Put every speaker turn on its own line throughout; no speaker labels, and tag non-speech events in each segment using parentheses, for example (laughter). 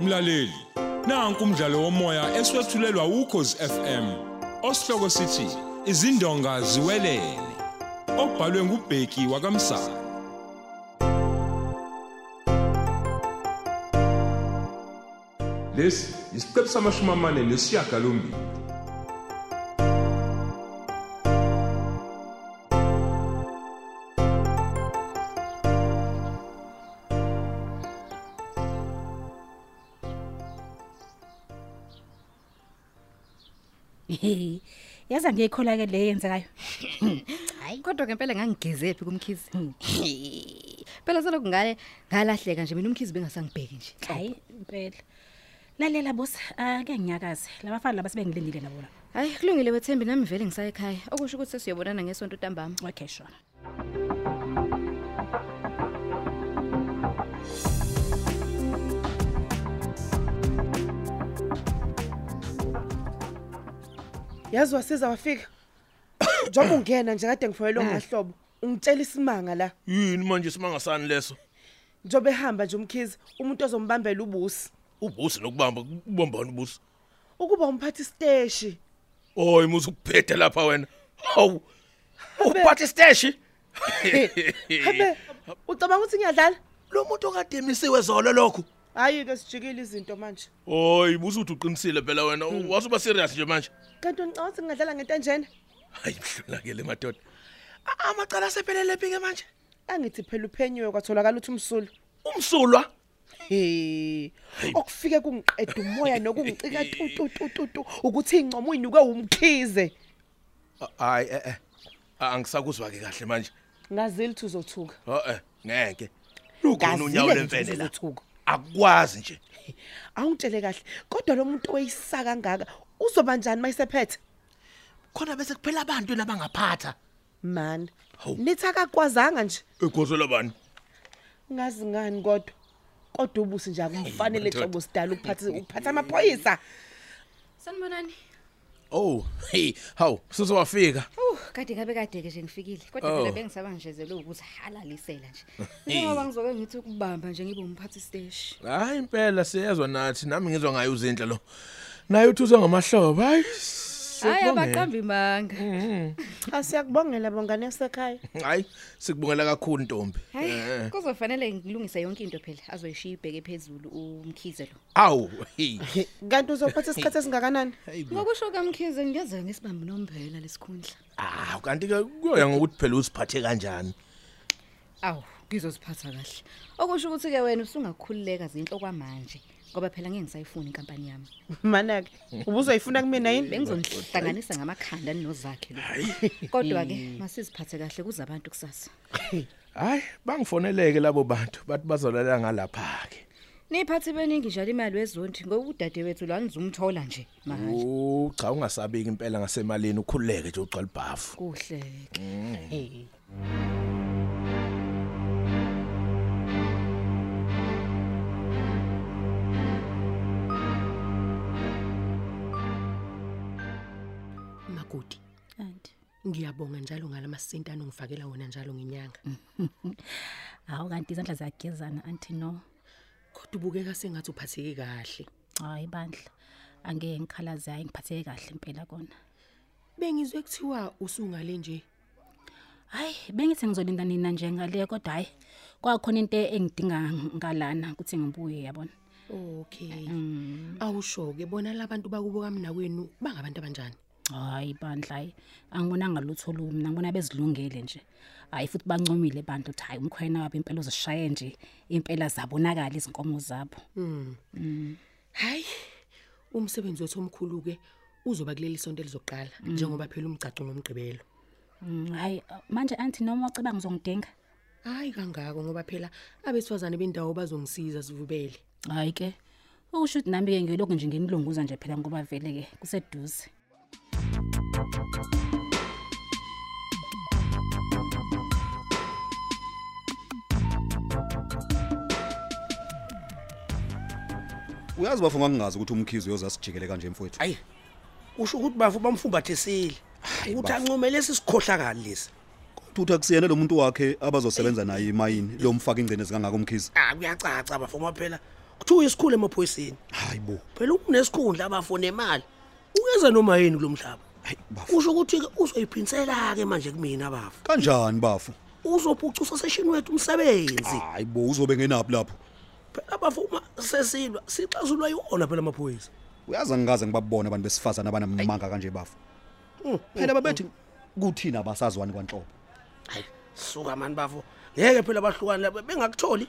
Mlaleli, nanku umdlalo womoya eswetshulelwa ukhozi FM. Osihloko sithi izindonga ziwelele. Obhalwe ngubheki wakamsa. Lesi isiqephu samashumi amane nesishiyagalombili.
yaza ngiyikhola ke le yenzekayo
hayi kodwa ke mpela ngangigezephi kumkhizi (laughs) phela selokhu ngale ngalahleka nje mina umkhizi bengasangibheki nje
hayi impela lalela boss ake nginyakaze labafana laba sebengilindile nabo la
hayi kulungile wethembi nami vele ngisaye ekhaya okusho ukuthi sesiyobonana ngesonto ntambama
okay sure
yazi wasiza wafika njengoba ungena nje kade ngifoyelwe ngahlobo ungitshela isimanga la
yini manje simanga sani leso
njobe ehamba nje umkhizi umuntu ozombambela ubusi
ubusi nokubamba kubambana ubusi
ukuba umphathi steshi
oyi musu kuphethe lapha wena hawu oh, uphathe isteshi
habe ucabanga ukuthi ngiyadlala
(laughs) lo muntu okade emisiwe zolo lokho
hayi ke sijikile izinto manje
oyi musu uthi uqinisile phela wena wase uba serious nje manje
kanti ngicabanga ukuthi ngingadlala ngento enjena
hayi mhlulakele madoda A- amacala asephelele phi ke manje
angithi phela uphenyiwe kwatholakala uthi umsulu
umsulwa
he okufike kungiqeda umoya nokungicika tu tu tu tu tu ukuthi incomo uyinuke umkhize
hayi eh eh angisakuzwa ke kahle manje
ngazili uthi uzothuka
eh ngeke lugona unyawo
Ngazile nje
lemfene la
uzothuka.
akwazi nje
awungitshele kahle kodwa lo muntu oyisaka ngaka uzoba njani mayisephethe
khona bese kuphela abantu labangaphatha
man
Hawu.
nithi akakwazanga nje
egozela bani
ngazi ngani kodwa kodwa ubusi nje akumfanele
madoda.
hlobo sidala ukuphatha ukuphatha amaphoyisa
sanibonani
Oh, hey, haw, sesowafika.
Uh, kade ngabe kade ke nje ngifikile. Kodwa
Oh.
phela bengisaba njezelwe ukuthi halalisela nje. Ngoba ngizoke ngithi ukubamba nje ngibe umphathi steshi.
Hayi impela siyezwa nathi, nami ngizwa ngayo uzinhle lo. Naye uthuzwa ngamahlobo, hayi.
Hayi
sikubongela.
abaqamba imanga.
cha siyakubongela bongane yasekhaya
Hayi, sikubongela kakhulu Ntombi.
Hayi kuzofanele ngilungise yonke into phela azoyishiya ibheke phezulu umkhize lo.
Aw, hey.
kanti uzophatha isikhathi esingakanani
Ngokusho kamkhize ngiyeza ngesibambi nomphela lesikhundla.
Ah, kanti ke kuya ngokuthi phela usiphathe kanjani.
Aw, ngizoziphatha kahle. Okusho ukuthi ke wena usungakhululeka zinhlo kwamanje. Ngoba phela ngeke ngisayifuna inkampani yami.
mana-ke ubuzoyifuna kumina yini
Bengizonihlanganisa ngamakhanda ninozakhe lo. Kodwa ke masiziphathe kahle kuzabantu kusasa.
Hayi, bangifoneleke labo bantu, bathi bazolala ngalapha ke.
Niphathi beningi njalo imali wezondi ngokudade wethu lo anizumthola nje mahanje.
Oh, cha ungasabeki impela ngasemalini ukhululeke nje ugcwala ibhafu.
Kuhle ke.
magodi
and
ngiyabonga njalo ngalamasintana ongifakela wona njalo ngenyanga
hawo kanti izandla ziyagezana anti no
kodwa ubukeka sengathi uphatheke kahle
hayi bandla angeke ngikhalaze hayi ngiphatheke kahle impela kona
bengizwe kuthiwa usungale nje
hayi bengithi ngizolinda nina nje ngale kodwa hayi kwakhona into engidinga ngalana ukuthi ngibuye yabona
okay awusho-ke bona labantu bakubo kamna kwenu bangabantu abanjani
hayi bandla hayi angibonanga lutho lu mina ngibona bezilungele nje hayi futhi bancomile bandla ukuthi hayi umkhwena wabo impela uzishaye nje impela zabonakala izinkomo zabo
hhayi umsebenzi wethu omkhulu-ke uzoba kuleli sonto elizoqala
Mm.
njengoba phela umgcaco ngomgqibelo
Mm, hayi uh, manje anti noma ucabanga uzongidinga
hhayi kangako ngoba phela abesifazane bendawo bazongisiza sivubele
hayi ke ukusho ukuthi nami-ke ngiyolokhu nje nginilunguza nje phela ngoba vele-ke kuseduze
uyazi bafu ngangingazi ukuthi umkhizi uyoze asijikele kanje mfowethu
hayi usho ukuthi bafu bamfumbathisile ukuthi
bafu.
ancome lesi sikhohlakali lesi
thutha kusiyena lo muntu wakhe abazosebenza naye emayini lo mfaka ingcene zikangaka umkhizi
ah kuyacaca bafu ngoba phela kuthiwa uyisikhulu emaphoyiseni
hayi bo
phela unesikhundla abafo nemali ukeza noma yini kulo mhlaba
hayi bafu
kusho ukuthi-ke uzoyiphinsela-ke manje kumina bafo
kanjani bafu
uzophucusa seshini wethu umsebenzi
hayi bo uzobe ngenaphi lapho
phela bafo uma sesilwa sixazulwa iwona phela amaphoyisa
uyazi angikaze ngibabone abantu besifazane abanamanga kanje bafu phela babethi kuthina abasazwani kwanhlobo
hayi suka mani bafo ngeke phela abahlukane labo bengakutholi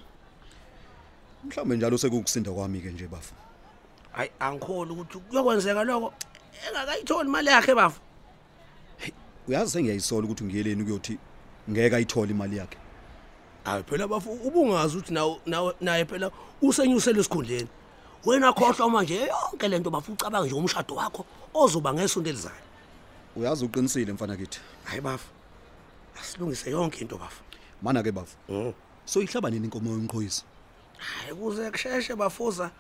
mhlawumbe njalo sekukusinda kwami-ke nje bafu
hayi angikholi ukuthi kuyokwenzeka lokho engakayitholi imali yakhe bafo
uyazi sengiyayisola ukuthi ngiyeleni kuyothi ngeke ayithole imali yakhe
hayi phela bafo ubungazi ukuthi nawe- nawe- naye phela usenyusele esikhundleni wena khohlwa manje yonke lento bafo ucabanga nje umshado wakho ozoba ngesonto elizayo
uyazi uqinisile mfana kithi
hayi bafo asilungise yonke into bafo
mana-ke bafu soyihlaba nini inkomo yomqhoyisi
hayi kuze kusheshe bafuza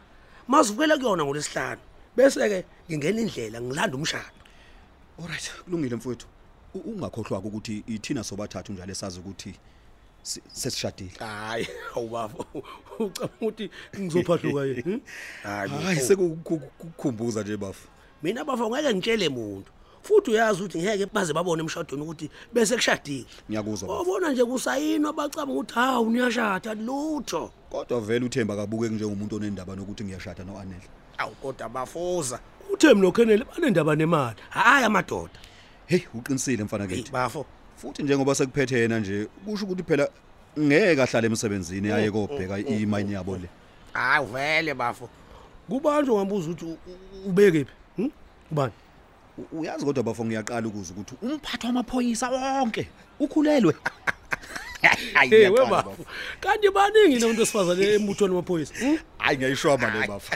mazivukela kuyona ngolesihlanu bese-ke ngingena indlela ngilanda umshado
olright kulungile mfowethu U- ungakhohlwa-ke ukuthi ithina sobathathu njalo esazi ukuthi si- sesishadile
hayi (laughs) awubafo ucabanga ukuthi hm? ngizophahluka yini
hayi sekukukhumbuza nje bafu
(laughs) mina bafo ngeke ngitshele muntu futhi uyazi ukuthi ngeke baze babone emshadweni ukuthi bese kushadile
ngiyakuzwa bafu
obona nje kusayinwa bacabanga ukuthi hawu niyashada lutho
kodwa vele uthemba kabukeki njengomuntu onendaba nokuthi ngiyashada no-anele
awu kodwa bafuza uthem nokenele banendaba nemali hhayi amadoda
heyi uqinisile mfana
Eyi,
kithi
bafo
futhi njengoba sekuphethe yena nje kusho ukuthi phela ngeke ahlale emsebenzini aye kobheka imayini yabo le
hayi vele bafo kubanjwe ngambuza ukuthi u- u- ubekephi hmm? ubani
U- uyazi kodwa bafo ngiyaqala ukuzwa ukuthi umphathi wamaphoyisa wonke ukhulelwe Hayi,
Hey,
ngiyaqala,
weba.
bafo.
kanti baningi nabantu esifazane eh, embuthweni wamaphoyisa hmm?
hayi ngiyayishwaba le bafu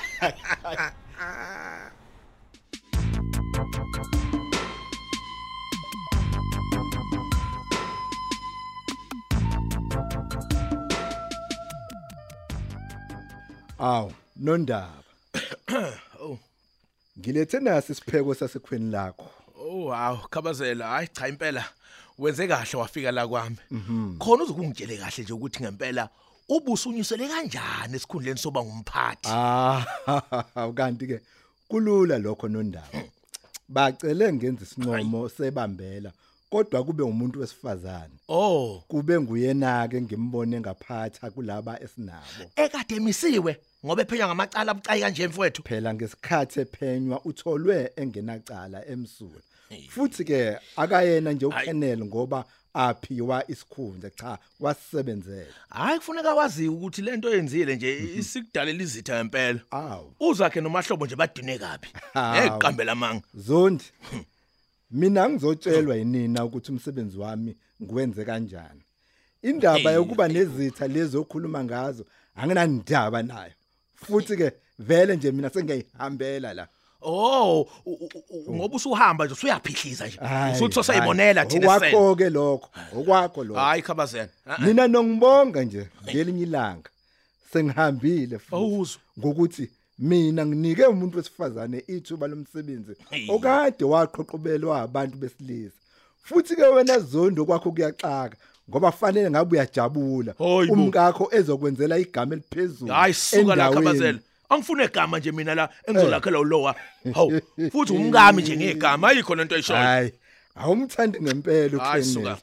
Aw, nondaba.
Oh.
Ngilethe nasi isipheko sasekhweni lakho.
Oh haw khabazela hayi cha impela wenze kahle wafika la kwami
Mhm.
khona uzokungitshele kahle nje ukuthi ngempela ubusunyisele kanjani esikhundleni soba ngumphathi
Ah, (laughs) kanti ke kulula lokho nondaba. Bacele ngenze isinqomo sebambela, kodwa kube umuntu wesifazane.
oh
Kube nguyena ke ngimbone ngaphatha kulaba esinabo.
ekade emisiwe ngoba ephenya ngamacala abucayi kanje mfowethu
Phela ngesikhathi ephenywa utholwe engenacala emsulwa. Futhi ke akayena nje ukhenele ngoba aphiwa isikhundla cha wasebenzele.
hayi kufuneka wazi ukuthi lento eyenzile nje
Mhm.
isikudalela izitha impela
Aw.
uzakhe nomahlobo nje badine kabi
Hawu.
eqambela manga (laughs)
Zondi. Mina ngizotshelwa yinina ukuthi umsebenzi wami ngiwenze kanjani. Indaba yokuba nezitha lezo okhuluma ngazo anginandaba nayo. Futhi ke vele nje mina sengiyihambela la.
oh u- u- u- ngoba usuhamba nje usuyaphihliza nje
Hayi,
usuthi
hayi.
usayibonela thina sen
Okwakho ke lokho, okwakho lokho.
hayi khabazela Ah, ah.
Mina nongibonga nje ngelinye ilanga. Sengihambile futhi
Awuzwa.
ngokuthi mina nginike umuntu wesifazane ithuba lomsebenzi
Hey.
okade waqhoqobelwa abantu besilisa futhi ke wena zondo kwakho kuyaxaka ngoba fanele ngabe uyajabula
Hoyi bo.
umkakho ezokwenzela igama eliphezulu
hayi suka la
endaweni. Eh.
khabazela angifune igama nje mina la engizolakhela
(laughs)
ulowa hawu futhi umkami nje ngegama ayikho lento ayishoyo
hayi awumthandi ngempela
Hayi,
uKenneth
suka.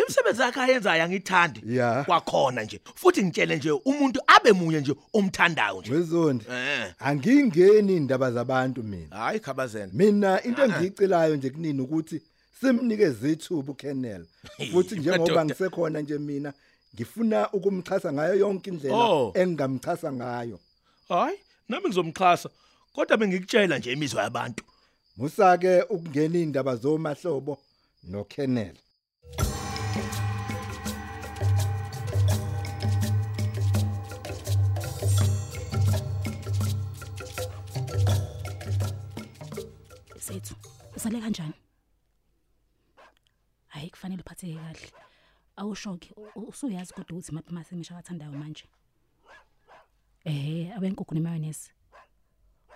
imisebenzi yakhe ayenzayo angithandi
Ya.
kwakhona nje futhi ngitshele nje umuntu abe munye nje omthandayo nje
wezondi
Eh.
angingeni indaba zabantu mina
hayi khabazela
mina into engiyicelayo nje kunini ukuthi simnikeze
(laughs)
ithuba uKenneth futhi njengoba
madoda.
ngisekhona nje mina ngifuna ukumchasa ngayo yonke indlela
Oh.
engingamchasa ngayo
hayi nami ngizomxhasa kodwa bengikutshela nje imizwa yabantu
musa ke ukungena indaba zomahlobo noKenneth
sethu usale kanjani hayi kufanele uphatheke kahle awushoki usuyazi kodwa ukuthi maphi amasemisha awathandayo manje ehe abenkukhu nemayonese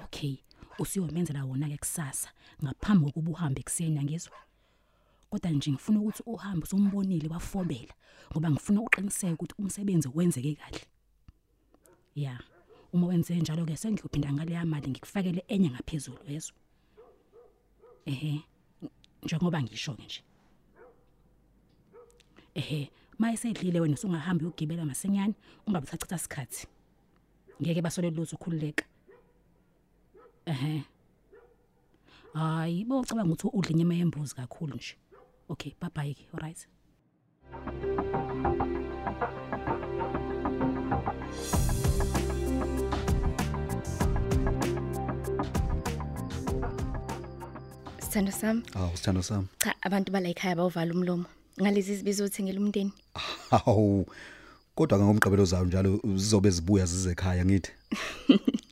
okay usuyomenzela wona-ke kusasa ngaphambi kokuba uhambe ekuseni angizwa kodwa nje ngifuna ukuthi uhambe usumbonile wafobela ngoba ngifuna uqiniseke ukuthi umsebenzi wenzeke kahle ya uma wenze njalo ke sengiyophinda ngale yamali ngikufakele enye ngaphezulu yezo ehe njengoba ngisho ke nje ehe mayisedlile wena usungahamba uyogibela masenyane ungabe usachitha isikhathi ngeke basole lutho ukhululeka ehe hayi bo ucabanga ukuthi udla inyama yembuzi kakhulu nje okay bye bye ke alright
Sithando sami,
Hawu sithando sami.
cha abantu bala ekhaya bayovala umlomo. Ngalezi zibizo uthengele umndeni.
Hawu. Kodwa ke ngomgqibelo zayo njalo zizobe zibuya zize ekhaya ngithi.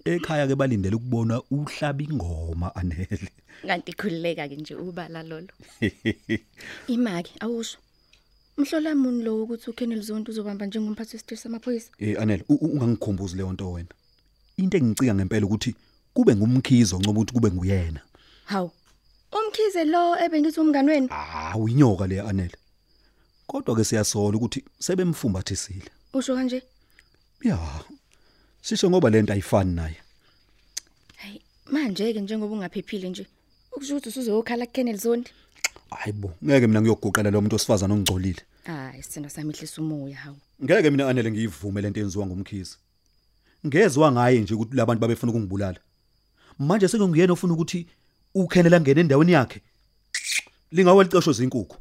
Ekhaya ke balindele ukubona uhlaba ingoma anele.
Kanti khulileka ke nje ubala
(laughs)
lolo. Imaki awusho. Mhlola muni lo ukuthi uKenel Zonto uzobamba njengomphathi wesiteshi samaphoyisa?
Eh anele u- u- ungangikhumbuzi leyo nto wena. Into engicika ngempela ukuthi kube ngumkhizo ncoba ukuthi kube nguyena.
Hawu. Umkhize lo ebengithi umngani wenu
Hawu inyoka le anele. Kodwa ke siyasola ukuthi sebemfumbathisile.
usho kanje.
Ya. Sisho ngoba lento ayifani naye.
Hayi manje ke njengoba ungaphephile nje. Ukusho ukuthi usuzokhala kuKenel Zonto.
Hayibo, ngeke mina ngiyoguqela lo muntu osifazana ongcolile.
Hayi sithando sami ihlisa umoya hawu.
Ngeke mina anele ngiyivume lento enziwa ngumkhizi. Ngezwe ngaye nje ukuthi labantu babefuna ukungibulala. Manje sekungiyena ofuna ukuthi ukhenela ngene endaweni yakhe. Lingawalicesho zinkukhu.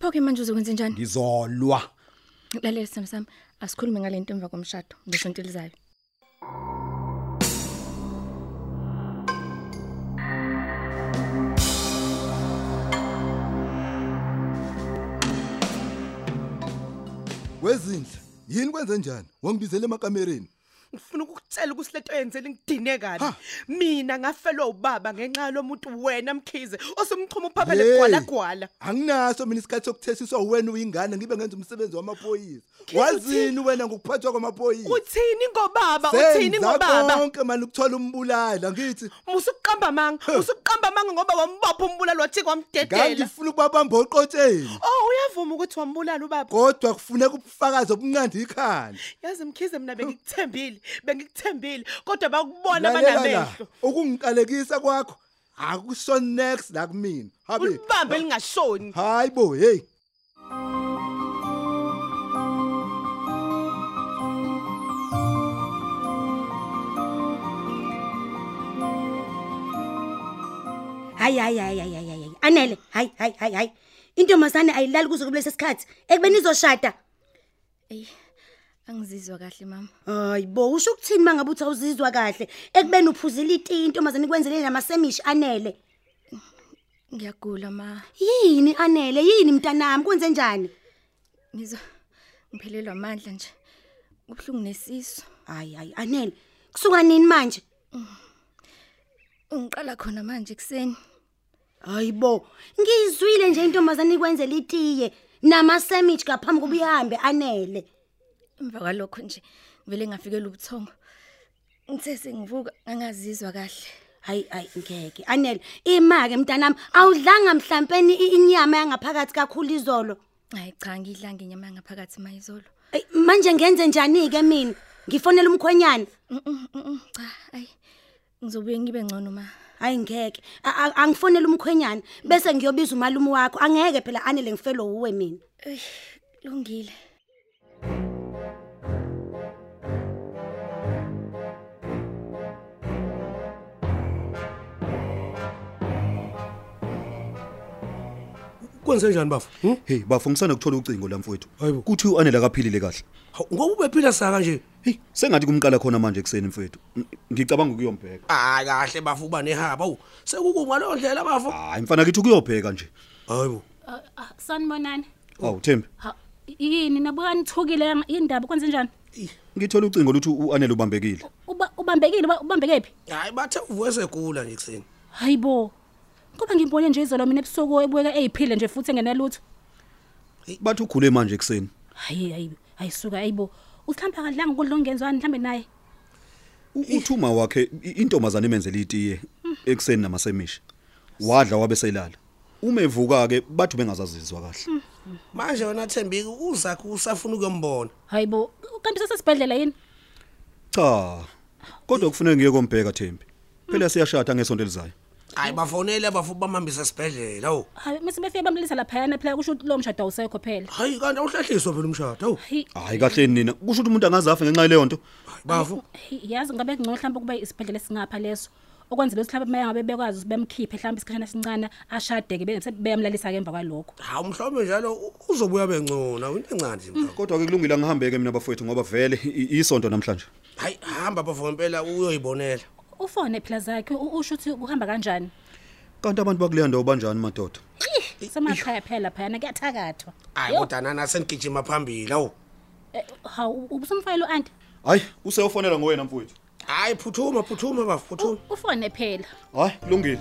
Pho ke manje uzokwenza njani?
Ngizolwa.
Lalela sithando sami, asikhulume ngalento emva komshado ngesonto elizayo.
Wezinhle, yini kwenze njani? Wangibizela emakamereni.
ngifuna ukukutshela ukuthi lento yenzela ngidine kani mina ngafelwa ubaba ngenxa lomuntu wena mkhize osumchuma uphaphele
Hey.
gwala gwala
Anginaso mina isikhathi sokuthesiswa wena uyingane ngibe ngenza umsebenzi wamaphoyisa.
Mkhize,
Wazini wena ngokuphathwa kwamaphoyisa?
uthini ngobaba uthini ngobaba
konke manje ukuthola umbulali ngithi
musuqamba manga usuqamba manga ngoba wambopha umbulali wathi kwamdedela
ngangifuna ukubabamba oqotsheni.
oh uyavuma ukuthi wambulala ubaba
Kodwa kufuneka ubufakazi obunqandi ikhanda.
yazi mkhize mina bengikuthembile bengikuthembile kodwa bakubona
Lalela la,
banamehlo
Ukungiqalekisa kwakho akusho next la kumina. Habe.
ulibambe lingashoni
Hayibo, hey.
hayi hayi hayi hayi hayi hayi anele hayi hayi hayi hayi intombazane ayilali kuze kulesi sikhathi ekubeni izoshada
Angizizwa kahle mama.
hayi bo usho ukuthini mangabe uthi awuzizwa kahle ekubeni uphuzile iti intombazane ikwenzeleni lamasemishi anele
Ngiyagula ma.
yini anele yini mntanami kwenze njani
Ngizo ngiphelelwa amandla nje. Ubhlungu nesisu.
hayi hayi anele kusuka nini manje
Ungiqala khona manje kuseni.
hayi bo ngizwile nje intombazane ikwenzela itiye namasemishi ngaphambi kokuba ihambe anele
Emva kwalokho nje vele ngafikela ubuthongo. Ngithe sengivuka ngangazizwa kahle.
hayi hayi ngeke anele ima-ke mntanami awudlanga mhlampeni i- inyama yangaphakathi kakhulu izolo
Hayi cha ngidlange inyama ngaphakathi mayizolo.
Ey, manje ngenze njani ke mina ngifonela umkhwenyana
Mm, mm, mm, Cha ayi. Ngizobuye ngibe ngcono ma.
hayi ngeke A- a- angifonela umkhwenyana bese ngiyobiza umalume wakho angeke phela anele ngifelo uwe mina
Ey, Lungile.
Kwenze njani bafo? Hm?
Hey bafo ngisana ukuthola ucingo la mfowethu.
Hayibo.
Kuthi uanele akaphilile kahle.
Hawu, Ngoba ubephila saka nje.
Hey sengathi kumqala khona manje ekseni mfowethu. Ng- Ngicabanga ukuyombheka.
Hayi kahle bafo uba nehaba. Awu sekukuma lo ndlela bafo.
Hayi mfana kithi ukuyobheka nje.
Hayibo.
Ah, sanibonani
Hawu Thembi,
Ha, yini nabuka nithukile nga- indaba kwenze njani
ngithola ucingo ukuthi uanele ubambekile.
uba ubambekile uba- ubambeke phi
Hayi bathe uvuke segula nje kuseni.
hayibo ngoba ngibone nje izolo mina ebusuku ebuka eyiphile nje futhi engenalutho
Bathi ukhule manje ekseni.
hayi hayi ayisuka hayibo uhlamba kadlanga ukudlongenzwa mhlambe naye
Uthuma wakhe i- intombazane imenzele itiye ekseni namasemishi. Wadla wabeselala. Uma evuka ke bathu bengazazizwa kahle.
Manje wena Thembiki uzakho usafuna ukuyombona.
hayibo kanti sasesibhedlela yini
Cha. Kodwa kufanele ngiye kombheka Thembi. Phela siyashada ngesonto elizayo.
hayi bafonele bafuthi bamhambise esibhedlela hawu
hayi mase befike bamlisa laphayana phela kusho ukuthi lowo mshado awusekho phela
hayi kanti awuhlehliswa phela umshado hawu
Hayi kahle nina. Kusho ukuthi umuntu angazafa ngenxa yaleyo nto.
Ah, bafu
yazi ngabe kungcono mhlawumbe kuba isibhedlela singapha leso okwenzela ukuthi mhlawumbe maye ngabe bekwazi ukuthi bemkhiphe mhlawumbe isikhashana esincane ashade ke bese beyamlalisa ke emva kwalokho
hawu mhlawumbe njalo u- uzobuya bengcono into encane nje
Kodwa ke kulungile angihambeke mina bafowethu ngoba vele i- isonto namhlanje.
hayi hamba bafu ngempela uyoyibonela
ufone phela zakhe u- usho ukuthi kuhamba kanjani
Kanti abantu bakuleya ndawo banjani madoda?
Ih, semakhaya phela phayana kuyathakathwa
hayi kodwa nana senigijima phambili hawu
Eh, hawu ubusumfayela uanti
Hayi, useyofonela ngowena mfowethu.
hayi phuthuma phuthuma bafu phuthuma
ufone phela
Hayi, kulungile.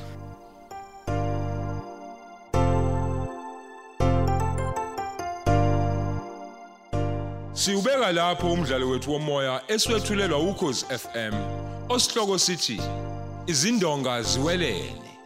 Siubeka lapho umdlalo wethu womoya eswetshulelwa ukhozi FM. Osihloko sithi izindonga ziwelele.